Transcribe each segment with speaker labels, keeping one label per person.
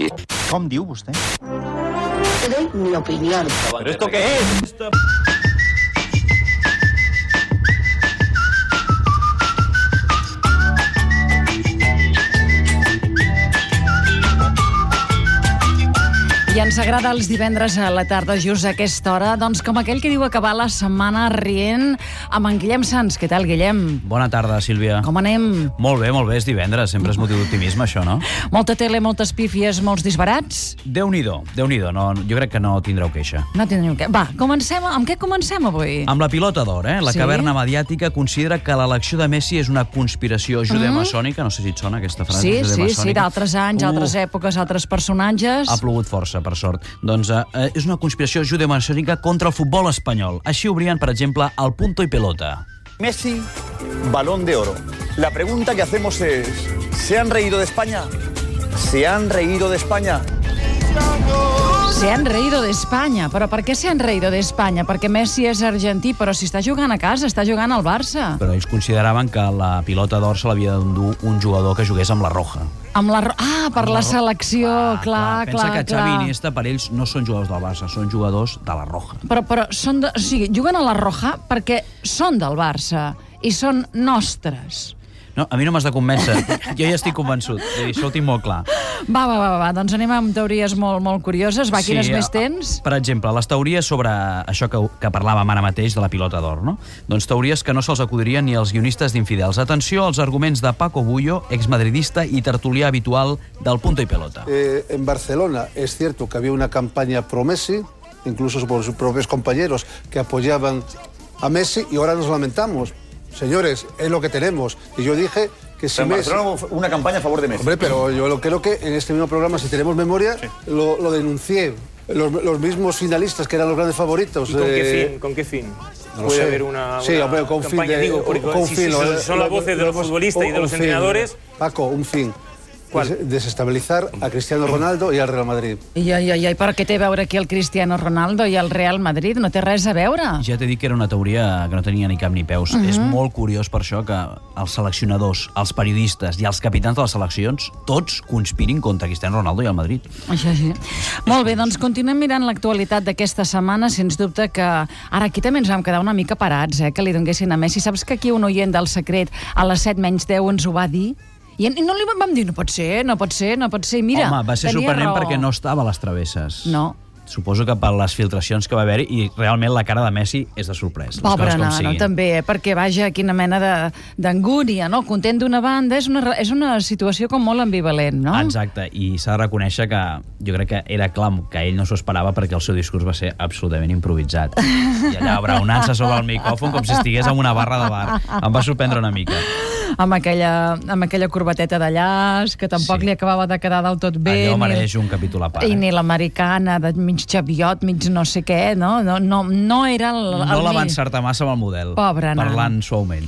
Speaker 1: I...
Speaker 2: Com diu vostè?
Speaker 3: Te doy mi opinión.
Speaker 4: ¿Pero esto qué es?
Speaker 5: I ens agrada els divendres a la tarda, just a aquesta hora, doncs com aquell que diu acabar la setmana rient amb en Guillem Sans. Què tal, Guillem?
Speaker 4: Bona tarda, Sílvia.
Speaker 5: Com anem?
Speaker 4: Molt bé, molt bé, és divendres, sempre és motiu d'optimisme, això, no?
Speaker 5: Molta tele, moltes pífies, molts disbarats?
Speaker 4: Déu-n'hi-do, déu nhi déu no, jo crec que no tindreu queixa.
Speaker 5: No tindrem què. Va, comencem. Amb què comencem avui?
Speaker 4: Amb la pilota d'or, eh? La
Speaker 5: Sí.
Speaker 4: caverna mediàtica considera que l'elecció de Messi és una conspiració judeo-maçònica, no sé si et sona aquesta frase,
Speaker 5: Mm. Sí, sí, sí,
Speaker 4: judeo-maçònica.
Speaker 5: d'altres anys, altres èpoques, altres personatges.
Speaker 4: Ha plogut força, per sort. Doncs eh, eh, és una conspiració judeo-maçònica contra el futbol espanyol. Així obrien, per exemple, el punto i pelota.
Speaker 6: Messi, balón de oro. La pregunta que hacemos es, ¿se han reído de España? ¿Se han reído de España?
Speaker 5: Se han reído de España. Però per què se han reído de España? Perquè Messi és argentí, però si està jugant a casa, està jugant al Barça.
Speaker 4: Però ells consideraven que la pilota d'or se l'havia d'endur un jugador que jugués amb la roja.
Speaker 5: Amb la... ro- Ah, per la selecció, clar, clar,
Speaker 4: Pensa
Speaker 5: clar.
Speaker 4: que Xavi i Iniesta per ells no són jugadors del Barça, són jugadors de la Roja.
Speaker 5: Però, però són de, o sigui, juguen a la Roja perquè són del Barça i són nostres.
Speaker 4: No, a mi no m'has de convèncer. jo ja estic convençut. Vull dir, Això ho tinc molt clar.
Speaker 5: Va, va, va, va, va, doncs anem amb teories molt, molt curioses. Va, quines més
Speaker 4: a-
Speaker 5: tens?
Speaker 4: Per exemple, les teories sobre això que, que parlàvem ara mateix de la pilota d'or, no? Doncs teories que no se'ls acudirien ni als guionistes d'infidels. Atenció als arguments de Paco Bullo, exmadridista i tertulià habitual del Punto i Pelota.
Speaker 7: Eh, en Barcelona es cierto que había una campaña pro Messi, incluso por sus propios compañeros que apoyaban a Messi y ahora nos lamentamos. Señores, es lo que tenemos. Y yo dije que si
Speaker 6: Pero en
Speaker 7: Messi...
Speaker 6: Barcelona hubo una campaña a favor de Messi.
Speaker 7: Hombre, pero yo lo- creo que en este mismo programa, si tenemos memoria, lo, lo denuncié. Los, los mismos finalistas que eran los grandes favoritos.
Speaker 8: ¿Y con qué
Speaker 7: eh,
Speaker 8: fin? ¿Con qué fin?
Speaker 7: no lo
Speaker 8: Puede
Speaker 7: sé.
Speaker 8: haber una,
Speaker 7: sí,
Speaker 8: una
Speaker 7: hombre, con fin
Speaker 8: campaña,
Speaker 7: de-
Speaker 8: digo, porque
Speaker 7: con
Speaker 8: si-
Speaker 7: fin,
Speaker 8: si
Speaker 7: lo-
Speaker 8: son, son las
Speaker 7: lo- oh,
Speaker 8: voces de los
Speaker 7: lo-
Speaker 8: futbolistas y de
Speaker 7: un
Speaker 8: los
Speaker 7: fin.
Speaker 8: entrenadores.
Speaker 7: Paco, un fin.
Speaker 8: ¿Cuál?
Speaker 7: Des- Desestabilizar a Cristiano Ronaldo y al Real Madrid.
Speaker 5: I, i, i, i per què té a veure aquí el Cristiano Ronaldo i el Real Madrid? No té res a veure.
Speaker 4: Ja t'he dit que era una teoria que no tenia ni cap ni peus. És
Speaker 5: Mhm.
Speaker 4: molt curiós per això que els seleccionadors, els periodistes i els capitans de les seleccions tots conspirin contra Cristiano Ronaldo i el Madrid.
Speaker 5: Això sí. Molt bé, doncs continuem mirant l'actualitat d'aquesta setmana. Sens dubte que ara aquí també ens vam quedar una mica parats, eh, que li donguessin a Messi. Saps que aquí un oient del secret a les 7 menys 10 ens ho va dir? I en- i no li vam- vam dir, no pot ser, no pot ser, no pot ser. I Mira,
Speaker 4: Home, va ser
Speaker 5: tenia
Speaker 4: sorprenent
Speaker 5: raó.
Speaker 4: perquè no estava a les travesses.
Speaker 5: No.
Speaker 4: Suposo que per les filtracions que va haver i realment la cara de Messi és de sorprès. les
Speaker 5: Pobre
Speaker 4: coses com
Speaker 5: nano,
Speaker 4: siguin.
Speaker 5: també, eh? perquè vaja, quina mena de- d'angúnia, no? Content d'una banda, és una, re- és una situació com molt ambivalent, no?
Speaker 4: Exacte, i s'ha de reconèixer que jo crec que era clar que ell no s'ho esperava perquè el seu discurs va ser absolutament improvisat. I allà abraonant-se sobre el micròfon com si estigués en una barra de bar. Em va sorprendre una mica.
Speaker 5: Amb aquella, amb aquella corbateta de llaç, que tampoc
Speaker 4: Sí.
Speaker 5: li acabava de quedar del tot bé.
Speaker 4: Allò
Speaker 5: ni-
Speaker 4: mereix un capítol a part.
Speaker 5: I
Speaker 4: eh?
Speaker 5: ni l'americana, de mig xaviot, mig no sé què, no? No, no, no era el...
Speaker 4: No
Speaker 5: el
Speaker 4: la
Speaker 5: mi-
Speaker 4: va encertar massa amb el model.
Speaker 5: Pobre nan.
Speaker 4: Parlant suaument.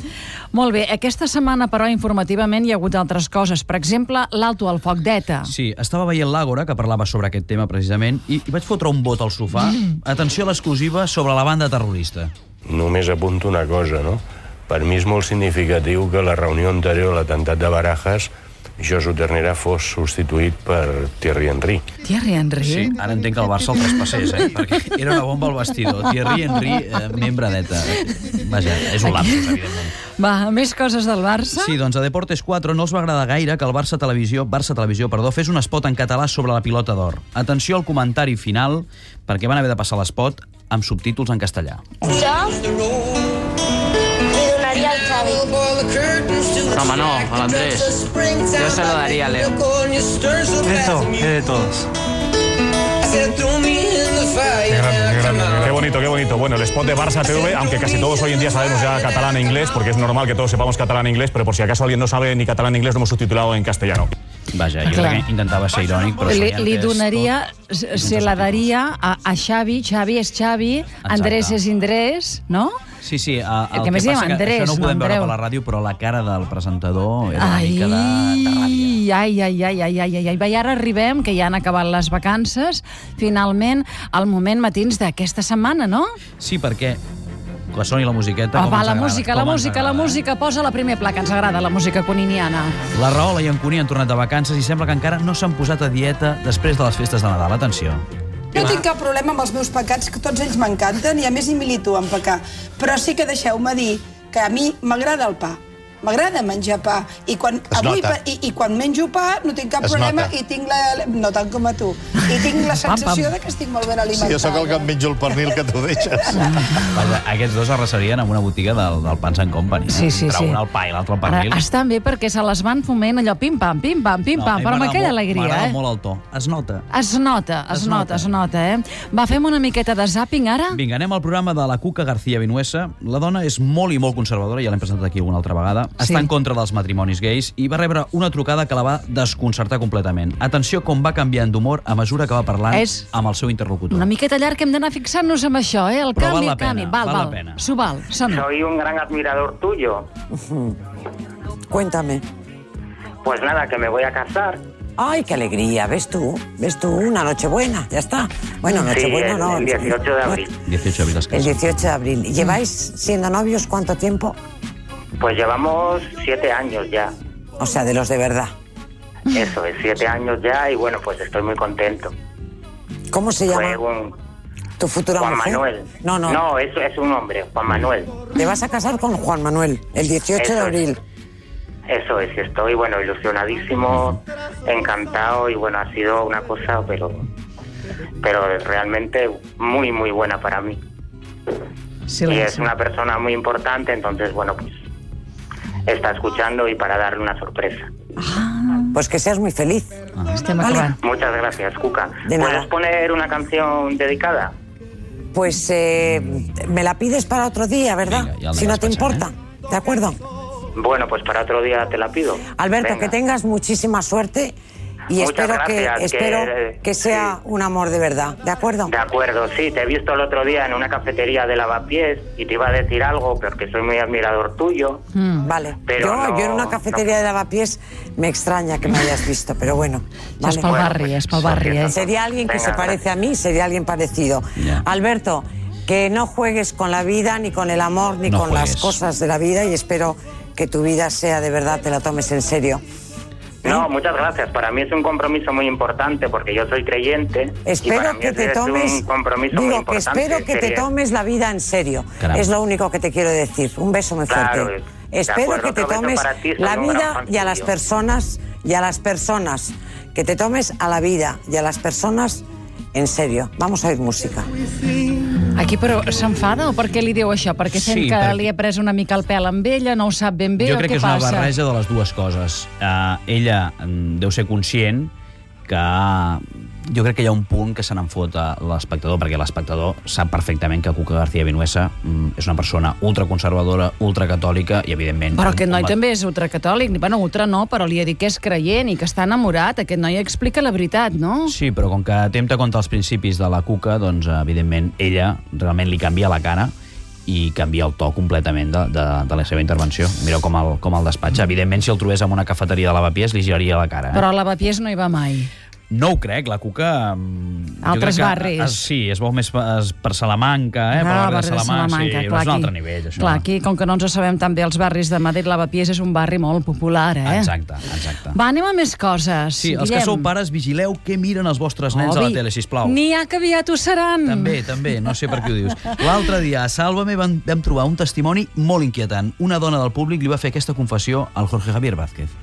Speaker 5: Molt bé, aquesta setmana, però, informativament hi ha hagut altres coses. Per exemple, l'alto al foc d'ETA.
Speaker 4: Sí, estava veient l'Àgora, que parlava sobre aquest tema precisament, i, i vaig fotre un bot al sofà.
Speaker 5: Mm.
Speaker 4: Atenció a l'exclusiva sobre la banda terrorista.
Speaker 1: Només apunto una cosa, no? Per mi és molt significatiu que la reunió anterior a l'atemptat de Barajas Josu Ternera fos substituït per Thierry Henry.
Speaker 5: Thierry Henry?
Speaker 4: Sí, ara entenc que el Barça el traspassés, eh? Perquè era una bomba al vestidor. Thierry Henry, eh, membre d'ETA. Vaja, és un lapsus, evidentment.
Speaker 5: Va, més coses del Barça?
Speaker 4: Sí, doncs a Deportes 4 no els va agradar gaire que el Barça Televisió, Barça Televisió, perdó, fes un spot en català sobre la pilota d'or. Atenció al comentari final, perquè van haver de passar l'espot amb subtítols en castellà.
Speaker 3: Yo le donaría al Xavi.
Speaker 9: No, mano, al Andrés. Yo se lo daría a Leo.
Speaker 8: Esto es de todos.
Speaker 10: Qué grande, qué grande. Qué bonito, qué bonito. Bueno, el spot de Barça TV, aunque casi todos hoy en día sabemos ya catalán e inglés, porque es normal que todos sepamos catalán e inglés, pero por si acaso alguien no sabe ni catalán ni inglés, lo hemos subtitulado en castellano.
Speaker 4: Vaja, jo
Speaker 5: Clar.
Speaker 4: crec que intentava ser irònic, però...
Speaker 5: Li,
Speaker 4: s'havia
Speaker 5: li
Speaker 4: entès
Speaker 5: donaria,
Speaker 4: tot.
Speaker 5: se se la daria a, a Xavi, Xavi és Xavi, Andrés és Indrés, no?
Speaker 4: Sí, sí, a,
Speaker 5: El
Speaker 4: el
Speaker 5: que
Speaker 4: que,
Speaker 5: més
Speaker 4: passa
Speaker 5: diem,
Speaker 4: que
Speaker 5: Andrés,
Speaker 4: això no ho
Speaker 5: no,
Speaker 4: podem veure
Speaker 5: Andreu.
Speaker 4: per la ràdio, però la cara del presentador era una
Speaker 5: Ai,
Speaker 4: mica de, de ràbia.
Speaker 5: ai, ai, ai, ai, ai, ai, ai. Va, i ara arribem, que ja han acabat les vacances, finalment, al moment matins d'aquesta setmana, no?
Speaker 4: Sí, perquè Que soni la musiqueta.
Speaker 5: Ah,
Speaker 4: com
Speaker 5: va,
Speaker 4: ens
Speaker 5: la
Speaker 4: agrada,
Speaker 5: música, la
Speaker 4: com ens
Speaker 5: música, la
Speaker 4: agrada, eh?
Speaker 5: música. Posa la primer placa, ens agrada la música coniniana.
Speaker 4: La Rahola i en Cuní han tornat de vacances i sembla que encara no s'han posat a dieta després de les festes de Nadal. Atenció.
Speaker 2: No tinc cap problema amb els meus pecats, que tots ells m'encanten i a més hi milito en pecar. Però sí que deixeu-me dir que a mi m'agrada el pa. M'agrada menjar pa. I quan,
Speaker 11: Es nota.
Speaker 2: pa- i, I quan menjo pa no tinc cap
Speaker 11: Es
Speaker 2: problema
Speaker 11: nota.
Speaker 2: i tinc la... No tant com a tu. I tinc la
Speaker 11: Pam, pam.
Speaker 2: sensació de que estic molt
Speaker 11: Si
Speaker 2: ben
Speaker 11: jo
Speaker 2: alimentada.
Speaker 11: sóc el que em menjo el pernil que tu deixes.
Speaker 5: Ah.
Speaker 4: Vaja, aquests dos arrasarien en una botiga del, del Pans and Company.
Speaker 5: Sí, sí,
Speaker 4: Entre
Speaker 5: sí.
Speaker 4: un al pa i l'altre al
Speaker 5: Ara,
Speaker 4: pernil.
Speaker 5: estan bé perquè se les van foment allò pim-pam, pim-pam, pim-pam, però amb aquella alegria,
Speaker 4: M'agrada
Speaker 5: eh?
Speaker 4: molt el to. Es nota.
Speaker 5: Es nota, es,
Speaker 4: Es
Speaker 5: nota, es nota, eh? Va, fem una miqueta de zàping ara?
Speaker 4: Vinga, anem al programa de la Cuca García Vinuesa. La dona és molt i molt conservadora, ja l'hem presentat aquí una altra vegada. Sí. Està en contra dels matrimonis gais i va rebre una trucada que la va desconcertar completament. Atenció com va canviant d'humor a mesura que va parlant
Speaker 5: És-
Speaker 4: amb el seu interlocutor.
Speaker 5: Una miqueta llarg que hem d'anar fixant-nos amb això, eh? El
Speaker 4: Però
Speaker 5: canvi,
Speaker 4: val la
Speaker 5: el canvi.
Speaker 4: pena,
Speaker 5: val,
Speaker 4: val la
Speaker 5: val.
Speaker 4: pena.
Speaker 5: S'ho val, som
Speaker 12: Soy un gran admirador tuyo.
Speaker 13: Cuéntame.
Speaker 12: Pues nada, que me voy a casar.
Speaker 13: Ay, qué alegría, ¿ves tú? ¿Ves tú? Una Nochebuena, ya está. Bueno,
Speaker 12: Sí,
Speaker 13: Nochebuena
Speaker 12: el-
Speaker 13: no.
Speaker 12: el 18 de abril.
Speaker 4: 18 abril es
Speaker 13: El 18 de abril. ¿Lleváis siendo novios cuánto tiempo?
Speaker 12: Pues llevamos siete años ya.
Speaker 13: O sea, de los de verdad.
Speaker 12: Eso, es siete años ya y bueno, pues estoy muy contento.
Speaker 13: ¿Cómo se llama
Speaker 12: Fue un
Speaker 13: tu futura
Speaker 12: Juan
Speaker 13: mujer?
Speaker 12: Manuel.
Speaker 13: No, no.
Speaker 12: No, eso es un hombre, Juan Manuel.
Speaker 13: Te vas a casar con Juan Manuel el 18 de
Speaker 12: Eso es.
Speaker 13: abril.
Speaker 12: Eso es, y estoy, bueno, ilusionadísimo, encantado y bueno, ha sido una cosa, pero, pero realmente muy, muy buena para mí. y es una persona muy importante, entonces, bueno, pues está escuchando y para darle una sorpresa.
Speaker 13: Pues que seas muy feliz.
Speaker 4: Ah.
Speaker 13: Vale.
Speaker 12: Muchas gracias, Cuca.
Speaker 13: De nada.
Speaker 12: ¿Puedes poner una canción dedicada?
Speaker 13: Pues eh, me la pides para otro día, ¿verdad?
Speaker 12: ya la
Speaker 13: si no
Speaker 12: vas
Speaker 13: te importa. ¿De acuerdo?
Speaker 12: Bueno, pues para otro día te la pido.
Speaker 13: Alberto,
Speaker 12: Venga.
Speaker 13: que tengas muchísima suerte y
Speaker 12: Muchas
Speaker 13: espero
Speaker 12: gracias,
Speaker 13: que
Speaker 12: que-
Speaker 13: espero que sea un amor de verdad, ¿de acuerdo?
Speaker 12: De acuerdo, sí, te he visto el otro día en una cafetería de lavapiés y te iba a decir algo porque soy muy admirador tuyo.
Speaker 13: Mm, Vale.
Speaker 12: Pero
Speaker 13: yo,
Speaker 12: no-
Speaker 13: yo en una cafetería de lavapiés me extraña que me hayas visto, pero bueno.
Speaker 5: Ja és pel
Speaker 13: Bueno,
Speaker 5: barri, és pel barri, eh?
Speaker 13: Sería alguien que
Speaker 5: Venga,
Speaker 13: se parece a mí, sería alguien parecido. Alberto, que no juegues con la vida, ni con el amor, ni
Speaker 4: No
Speaker 13: con las
Speaker 4: juegues.
Speaker 13: cosas de la vida y espero que tu vida sea de verdad, te la tomes en serio.
Speaker 8: ¿eh?
Speaker 12: No, muchas gracias. Para mí es un compromiso muy importante porque yo soy creyente. y para
Speaker 13: Espero
Speaker 12: mí
Speaker 13: que
Speaker 12: ese
Speaker 13: te
Speaker 12: es
Speaker 13: tomes,
Speaker 12: un compromiso muy
Speaker 13: digo que
Speaker 12: importante.
Speaker 13: espero que te
Speaker 12: sería-
Speaker 13: tomes la vida en serio.
Speaker 12: Caramba.
Speaker 13: Es lo único que te quiero decir. Un beso muy fuerte.
Speaker 12: Claro, de
Speaker 13: espero
Speaker 12: acuerdo,
Speaker 13: que te
Speaker 12: otro beso
Speaker 13: tomes
Speaker 12: para ti, soy
Speaker 13: la
Speaker 12: un gran
Speaker 13: vida
Speaker 12: fan
Speaker 13: y a las
Speaker 12: tuyo.
Speaker 13: personas y a las personas que te tomes a la vida y a las personas en serio. Vamos a oír música.
Speaker 5: Aquí, però s'enfada o per què li diu això? Perquè sent
Speaker 4: Sí,
Speaker 5: que
Speaker 4: perquè-
Speaker 5: li ha pres una mica el pèl amb ella, no ho sap ben bé
Speaker 4: jo
Speaker 5: o
Speaker 4: crec que
Speaker 5: què
Speaker 4: és una
Speaker 5: passa?
Speaker 4: barreja de les dues coses. Uh, ella mm, deu ser conscient que mm, jo crec que hi ha un punt que se n'en fot a l'espectador, perquè l'espectador sap perfectament que Cuca García Vinuesa mm, és una persona ultraconservadora, ultracatòlica i, evidentment...
Speaker 5: Però aquest noi
Speaker 4: amb-
Speaker 5: també és ultracatòlic. Bueno, ultra no, però li ha dit que és creient i que està enamorat. Aquest noi explica la veritat, no?
Speaker 4: Sí, però com que atempta contra els principis de la Cuca, doncs, evidentment, ella realment li canvia la cara i canvia el to completament de, de, de la seva intervenció. Mira com el, com el despatxa. Evidentment, si el trobés en una cafeteria de lavapiés, li giraria la cara. Eh?
Speaker 5: Mm. Però a lavapiés no hi va mai.
Speaker 4: No ho crec, la Cuca... mm, jo crec
Speaker 5: Altres
Speaker 4: que,
Speaker 5: barris.
Speaker 4: Es, sí, es veu més pa- es, per Salamanca, eh? per
Speaker 5: Ah,
Speaker 4: la
Speaker 5: barri de Salamanca,
Speaker 4: sí,
Speaker 5: clar,
Speaker 4: és un
Speaker 5: aquí-
Speaker 4: altre nivell, això.
Speaker 5: Clar, aquí, com que no ens ho sabem tan bé, els barris de Madrid, Lavapiés és un barri molt popular, eh?
Speaker 4: Exacte, exacte.
Speaker 5: Va, anem a més coses.
Speaker 4: Sí, els que
Speaker 5: Guillem.
Speaker 4: sou pares, vigileu què miren els vostres nens a
Speaker 5: Obi,
Speaker 4: la tele, sisplau.
Speaker 5: N'hi ha que aviat ho seran.
Speaker 4: També, també, no sé per què ho dius. L'altre dia a Sálvame vam, vam trobar un testimoni molt inquietant. Una dona del públic li va fer aquesta confessió al Jorge Javier Vázquez.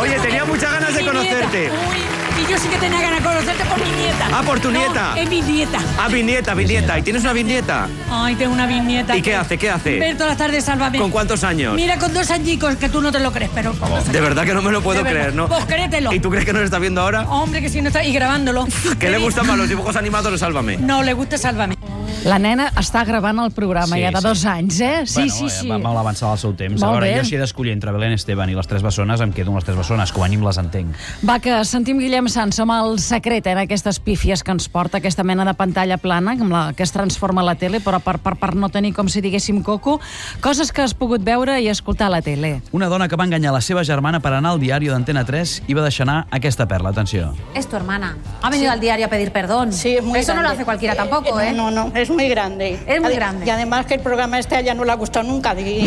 Speaker 14: Oye, tenía muchas ganas de
Speaker 15: Mi nieta.
Speaker 14: conocerte.
Speaker 15: Uy, y yo sí que tenía ganas de conocerte por mi nieta.
Speaker 14: Ah, por tu
Speaker 15: No,
Speaker 14: nieta.
Speaker 15: es mi nieta.
Speaker 14: Ah, bisnieta, bisnieta. ¿Y tienes una bisnieta?
Speaker 15: Ay, tengo una bisnieta.
Speaker 14: ¿Y qué hace, qué hace?
Speaker 15: Ver todas las tardes, sálvame.
Speaker 14: ¿Con cuántos años? Oh,
Speaker 15: Mira, con dos añicos, que tú no te lo crees, pero... con dos
Speaker 14: De verdad que no me lo puedo
Speaker 15: De verdad.
Speaker 14: creer, ¿no?
Speaker 15: Pues créetelo.
Speaker 14: ¿Y tú crees que nos está viendo ahora?
Speaker 15: años. Hombre, que si no está... Y grabándolo.
Speaker 14: ¿Qué le gustan más los dibujos animados o sálvame?
Speaker 15: No, le gusta Sálvame.
Speaker 5: La nena està gravant el programa
Speaker 4: Sí,
Speaker 5: ja de
Speaker 4: sí.
Speaker 5: dos anys, eh? Sí,
Speaker 4: bueno,
Speaker 5: sí, sí.
Speaker 4: Va, mal avançar el seu temps.
Speaker 5: Molt
Speaker 4: a veure,
Speaker 5: bé.
Speaker 4: jo si he d'escollir entre Belén Esteban i les tres bessones, em quedo amb les tres bessones, com a mínim les entenc.
Speaker 5: Va, que sentim Guillem Sanz, som el secret eh, d'aquestes pífies que ens porta aquesta mena de pantalla plana amb la que es transforma la tele, però per, per, per no tenir, com si diguéssim, coco, coses que has pogut veure i escoltar a la tele.
Speaker 4: Una dona que va enganyar la seva germana per anar al diari d'Antena 3 i va deixar anar aquesta perla, atenció.
Speaker 16: Es tu hermana. Ha venido al diario a pedir perdón. Sí, Eso no lo hace cualquiera tampoco, ¿eh? No, no, es
Speaker 2: muy grande.
Speaker 5: Es muy
Speaker 2: Ade-
Speaker 5: grande.
Speaker 2: Y además que el programa este a ella no le ha gustado nunca. di-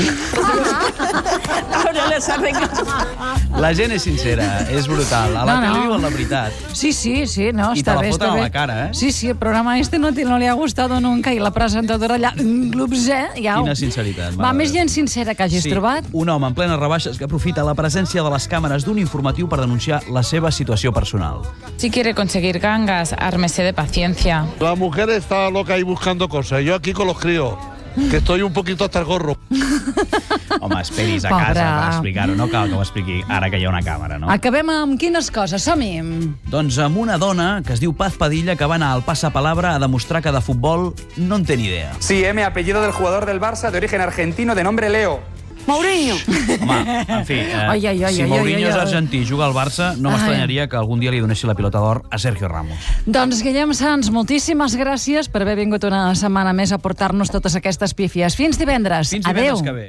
Speaker 2: Ahora les arregla.
Speaker 4: La gent és sincera, és brutal. A la
Speaker 5: No, no.
Speaker 4: tele diuen la veritat.
Speaker 5: Sí, sí, sí, no,
Speaker 4: I
Speaker 5: está
Speaker 4: te la foten
Speaker 5: bien, está
Speaker 4: a la
Speaker 5: bien.
Speaker 4: cara, eh?
Speaker 5: Sí, sí, el programa este no, te- no le ha gustado nunca y la presentadora allà, mm, globs, eh? Ja,
Speaker 4: Quina sinceritat.
Speaker 5: va,
Speaker 4: mare
Speaker 5: més
Speaker 4: de
Speaker 5: gent sincera que hagis
Speaker 4: Sí,
Speaker 5: trobat.
Speaker 4: Un home en plenes rebaixes que aprofita la presència de les càmeres d'un informatiu per denunciar la seva situació personal.
Speaker 17: Si quiere conseguir gangas, ármese de paciencia.
Speaker 18: La mujer está loca ahí buscando cosas. Yo aquí con los críos, que estoy un poquito hasta el gorro.
Speaker 4: Home, esperis a
Speaker 5: Pobre.
Speaker 4: casa per explicar-ho. No cal que ho expliqui ara que hi ha una càmera, no?
Speaker 5: Acabem amb quines coses, som-hi.
Speaker 4: Doncs amb una dona que es diu Paz Padilla que va anar al passapalabra a demostrar que de futbol no en té ni idea.
Speaker 12: Sí, M, apellido del jugador del Barça de origen argentino de nombre Leo.
Speaker 5: Mourinho.
Speaker 4: Home, en fi, eh,
Speaker 5: Ai, ai, ai,
Speaker 4: si
Speaker 5: ai,
Speaker 4: Mourinho
Speaker 5: ai, ai,
Speaker 4: és
Speaker 5: ai.
Speaker 4: argentí i juga al Barça, no
Speaker 5: Ai.
Speaker 4: m'estranyaria que algun dia li donessi la pilota d'or a Sergio Ramos.
Speaker 5: Doncs Guillem Sans, moltíssimes gràcies per haver vingut una setmana més a portar-nos totes aquestes pífies. Fins divendres.
Speaker 4: Fins divendres
Speaker 5: Adeu.
Speaker 4: que ve.